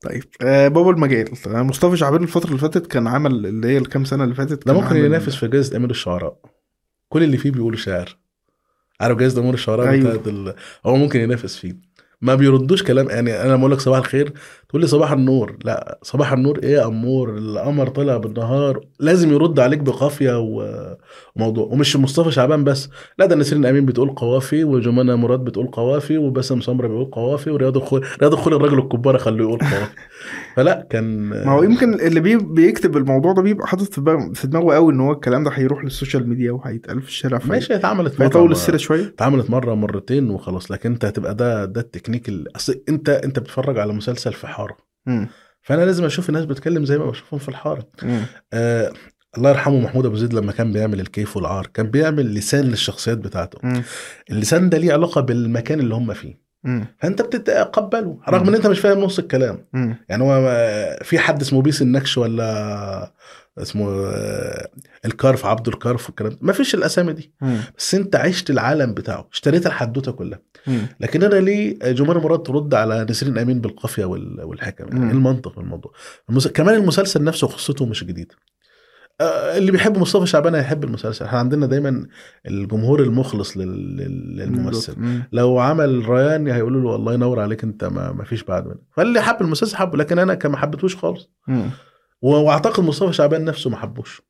طيب آه بابا المجال آه، مصطفى شعبان الفترة اللي فاتت كان عمل اللي هي الكام سنة اللي فاتت ده كان ممكن عمل- ينافس في جائزه امير الشعراء كل اللي فيه بيقولوا شعر عارف جائزه امير الشعراء أيوة. بتاعت ال... هو ممكن ينافس فيه ما بيردوش كلام يعني انا لما اقول لك صباح الخير تقول لي صباح النور لا صباح النور ايه يا امور القمر طلع بالنهار لازم يرد عليك بقافيه و- وموضوع ومش مصطفى شعبان بس لا ده نسرين امين بتقول قوافي وجمانه مراد بتقول قوافي وباسم سمره بيقول قوافي ورياض الخول رياض الخول الراجل الكبار خلوه يقول قوافي فلا كان ما هو يمكن اللي بي بيكتب الموضوع ده بيبقى حاطط في دماغه- في دماغه قوي ان هو الكلام ده هيروح للسوشيال ميديا وهيتقال في الشارع في ماشي اتعملت مرة فيطول ما- السيرة شوية اتعملت مره مرتين وخلاص لكن انت هتبقى ده ده التكنيك ال- اصل انت انت بتتفرج على مسلسل في حاره مم. فانا لازم اشوف الناس بتتكلم زي ما بشوفهم في الحاره مم. آه الله يرحمه محمود ابو زيد لما كان بيعمل الكيف والعار كان بيعمل لسان للشخصيات بتاعته مم. اللسان ده ليه علاقه بالمكان اللي هم فيه مم. فانت بتتقبله رغم مم. ان انت مش فاهم نص الكلام مم. يعني هو ما- في حد اسمه بيس النكش ولا اسمه آه، الكارف عبد الكارف والكلام ده ما فيش الاسامي دي مم. بس انت عشت العالم بتاعه اشتريت الحدوته كلها مم. لكن انا ليه جمال مراد ترد على نسرين امين بالقافيه وال- والحكم يعني مم. إيه المنطق في الموضوع المس... كمان المسلسل نفسه قصته مش جديده آه، اللي بيحب مصطفى شعبان هيحب المسلسل احنا عندنا دايما الجمهور المخلص لل... لل- للممثل مم. لو عمل ريان هيقولوا له الله ينور عليك انت ما, ما فيش بعد منك فاللي حب المسلسل حبه لكن انا كان ما حبيتهوش خالص مم. و... واعتقد مصطفى شعبان نفسه ما حبوش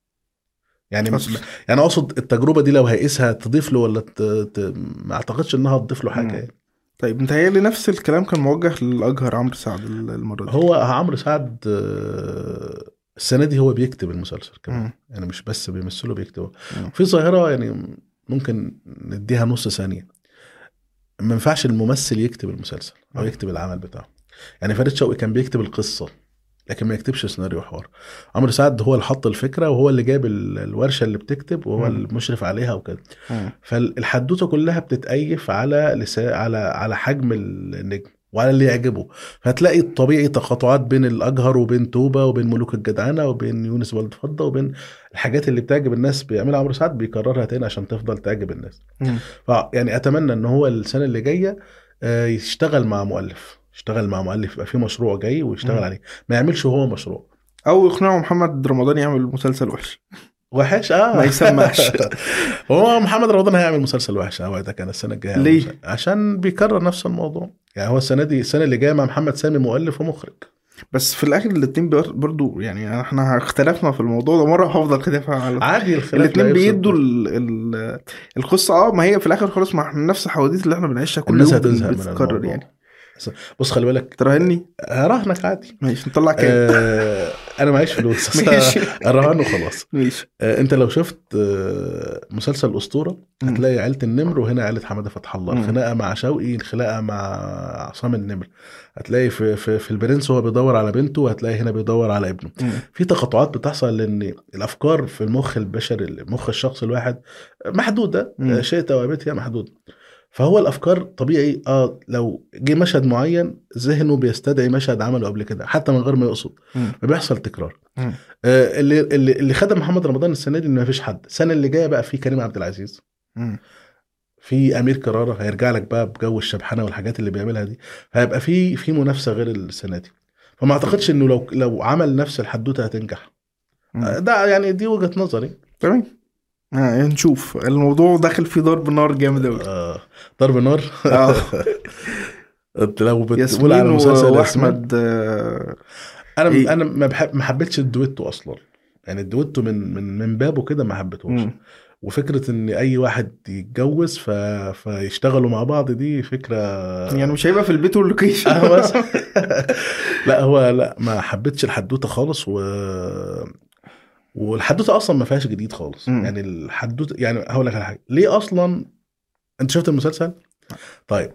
يعني أصل- يعني اقصد التجربه دي لو هيقيسها تضيف له ولا ت... ت... ما اعتقدش انها تضيف له حاجه مم. يعني. طيب متهيألي نفس الكلام كان موجه للأجهر عمرو سعد ال- المرة دي هو عمرو سعد آه، السنه دي هو بيكتب المسلسل كمان مم. يعني مش بس بيمثله بيكتبه مم. في ظاهره يعني ممكن نديها نص ثانيه ما ينفعش الممثل يكتب المسلسل او مم. يكتب العمل بتاعه يعني فريد شوقي كان بيكتب القصه لكن ما يكتبش سيناريو حوار عمرو سعد هو اللي حط الفكره وهو اللي جاب ال- الورشه اللي بتكتب وهو مم. المشرف عليها وكده مم. فالحدوته كلها بتتأيف على لسا... على على حجم النجم وعلى اللي يعجبه فهتلاقي الطبيعي تقاطعات بين الاجهر وبين توبه وبين ملوك الجدعنه وبين يونس بلد فضه وبين الحاجات اللي بتعجب الناس بيعملها عمرو سعد بيكررها تاني عشان تفضل تعجب الناس مم. فيعني اتمنى ان هو السنه اللي جايه آه، يشتغل مع مؤلف يشتغل مع مؤلف يبقى في مشروع جاي ويشتغل مم. عليه ما يعملش هو مشروع أو يقنعوا محمد رمضان يعمل مسلسل وحش وحش اه ما يسمعش. هو محمد رمضان هيعمل مسلسل وحش آه، اوعدك انا السنه الجايه هيعمل ليه؟ مسلسل. عشان بيكرر نفس الموضوع يعني هو السنه دي السنه اللي جايه مع محمد سامي مؤلف ومخرج بس في الآخر الاتنين بير- برضو يعني احنا اختلفنا في الموضوع ده مرة هفضل كده على عادي الخلاف لا الاتنين يفسد. بيدوا ال... ال... القصه اه ما هي في الاخر خالص ما احنا نفس الحواديت اللي احنا بنعيشها كل الناس يوم هتزهق من بتتكرر الموضوع يعني يعني بص خلي بالك تراهني هراهنك عادي ماشي نطلع كام آه انا معيش فلوس ماشي الرهان وخلاص ماشي آه انت لو شفت آه مسلسل اسطوره مم. هتلاقي عيله النمر وهنا عيله حماده فتح الله مم. الخناقه مع شوقي الخناقه مع عصام النمر هتلاقي في في, في البرنس هو بيدور على بنته وهتلاقي هنا بيدور على ابنه مم. في تقاطعات بتحصل لان الافكار في المخ البشري مخ الشخص الواحد محدوده مم. شئت او ابيت هي محدوده فهو الافكار طبيعي اه لو جه مشهد معين ذهنه بيستدعي مشهد عمله قبل كده حتى من غير ما يقصد مم. بيحصل تكرار مم. آه اللي اللي اللي خدم محمد رمضان السنه دي ان مفيش حد السنه اللي جايه بقى في كريم عبد العزيز مم. في امير كرارة هيرجع لك بقى بجو الشبحانه والحاجات اللي بيعملها دي هيبقى في في منافسه غير السنه دي فما اعتقدش انه لو لو عمل نفس الحدوته هتنجح مم. ده يعني دي وجهه نظري تمام آه نشوف الموضوع داخل فيه ضرب نار جامد قوي آه، ضرب نار آه. انت لو بتقول ياسمين على و- مسلسل ياسمين، واحمد آه، انا إيه؟ انا ما بحب ما حبيتش الدويتو اصلا يعني الدويتو من من من بابه كده ما حبيتهوش مم. وفكره ان اي واحد يتجوز ف... فيشتغلوا مع بعض دي فكره يعني مش هيبقى في البيت واللوكيشن آه، بس. لا هو لا ما حبيتش الحدوته خالص و والحدوته اصلا ما فيهاش جديد خالص مم. يعني الحدوته يعني هقول لك على حاجه ليه اصلا انت شفت المسلسل؟ طيب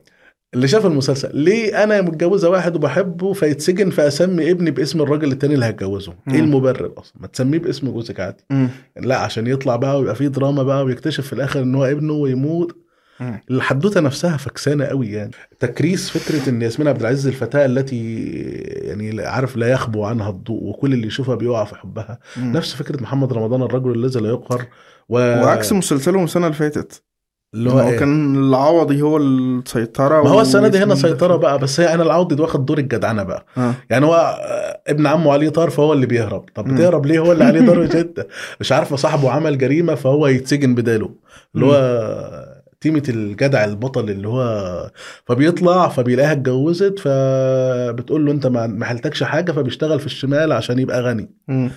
اللي شاف المسلسل ليه انا متجوزه واحد وبحبه فيتسجن فاسمي ابني باسم الراجل التاني اللي هتجوزه؟ مم. ايه المبرر اصلا؟ ما تسميه باسم جوزك عادي مم. لا عشان يطلع بقى ويبقى فيه دراما بقى ويكتشف في الاخر ان هو ابنه ويموت مم. الحدوته نفسها فكسانه قوي يعني تكريس فكره ان ياسمين عبد العزيز الفتاه التي يعني لا- عارف لا يخبو عنها الضوء وكل اللي يشوفها بيقع في حبها مم. نفس فكره محمد رمضان الرجل الذي لا يقهر و... وعكس مسلسلهم السنه اللي فاتت آه. اللي هو هو إيه؟ كان العوضي هو السيطره ما هو السنه دي واسمه هنا ده. سيطره بقى بس هي انا العوضي واخد دور الجدعنه بقى اه يعني هو آه، ابن عمه علي طار فهو اللي بيهرب طب مم. بتهرب ليه هو اللي عليه ضرر انت مش عارفه صاحبه عمل جريمه فهو يتسجن بداله اللي هو تيمة الجدع البطل اللي هو فبيطلع فبيلاقيها اتجوزت فبتقول له انت ما ما حلتكش حاجه فبيشتغل في الشمال عشان يبقى غني مم.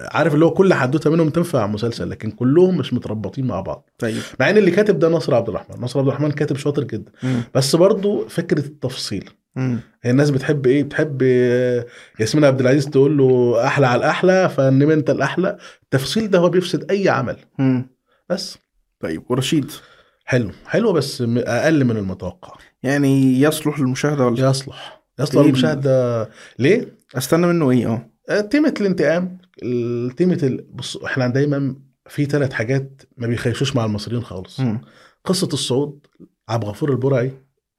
عارف اللي هو كل حدوته منهم تنفع مسلسل لكن كلهم مش متربطين مع بعض طيب مع ان اللي كاتب ده ناصر عبد الرحمن ناصر عبد الرحمن كاتب شاطر جدا مم. بس برضه فكره التفصيل مم. هي الناس بتحب ايه بتحب آه، ياسمين عبد العزيز تقول له احلى على الاحلى فانما انت الاحلى التفصيل ده هو بيفسد اي عمل مم. بس طيب ورشيد حلو حلو بس م- اقل من المتوقع يعني يصلح للمشاهده ولا يصلح يصلح ليه؟ المشاهده ليه استنى منه ايه اه آه، تيمة الانتقام ال- تيمة ال... بص احنا دايما في ثلاث حاجات ما بيخيشوش مع المصريين خالص مم. قصة الصعود عبد الغفور البرعي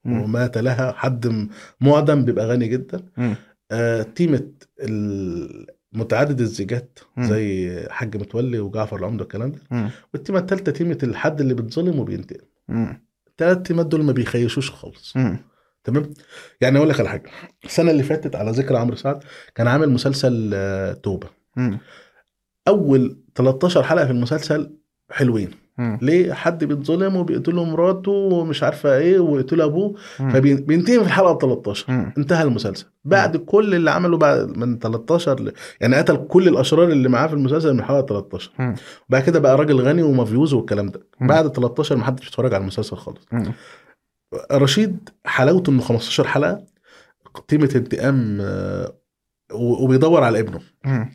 مم. ومات لها حد م- معدم بيبقى غني جدا مم. آه، تيمة ال- متعدد الزيجات مم. زي حاج متولي وجعفر العمدة والكلام ده مم. والتيمة التالتة تيمة الحد اللي بيتظلم وبينتقم مم. التلات تيمات دول ما بيخيشوش خالص مم. تمام يعني اقول لك على حاجه السنه اللي فاتت على ذكر عمرو سعد كان عامل مسلسل آه، توبه مم. اول 13 حلقه في المسلسل حلوين مم. ليه حد بيتظلم وبيقتله مراته ومش عارفه ايه ويقتله ابوه مم. فبينتهي في الحلقه 13 مم. انتهى المسلسل بعد كل اللي عمله بعد من 13 ل... يعني قتل كل الاشرار اللي معاه في المسلسل من حلقه 13 مم. بعد كده بقى راجل غني ومافيوز والكلام ده مم. بعد 13 ما حدش بيتفرج على المسلسل خالص مم. رشيد حلاوته انه 15 حلقه قيمه انتقام آه، و- وبيدور على ابنه مم.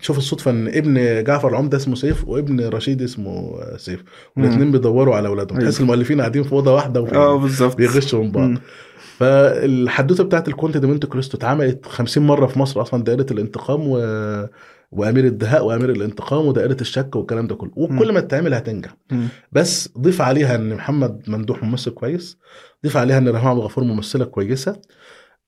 شوف الصدفه ان ابن جعفر العمده اسمه سيف وابن رشيد اسمه آه، سيف مم. والاثنين بيدوروا على اولادهم أيوة. تحس المؤلفين قاعدين في اوضه واحده اه وبي- بالظبط بيغشوا من بعض مم. فالحدوته بتاعت الكونت دومينتو كريستو اتعملت 50 مره في مصر اصلا دائره الانتقام و... وامير الدهاء وامير الانتقام ودائره الشك والكلام ده كله وكل ما تتعمل هتنجح مم. بس ضيف عليها ان محمد ممدوح ممثل كويس ضيف عليها ان رهام عبد الغفور ممثله كويسه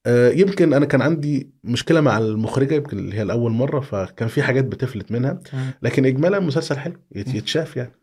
آه، يمكن انا كان عندي مشكله مع المخرجه يمكن اللي هي الاول مره فكان في حاجات بتفلت منها مم. لكن اجمالا مسلسل حلو يت- يتشاف يعني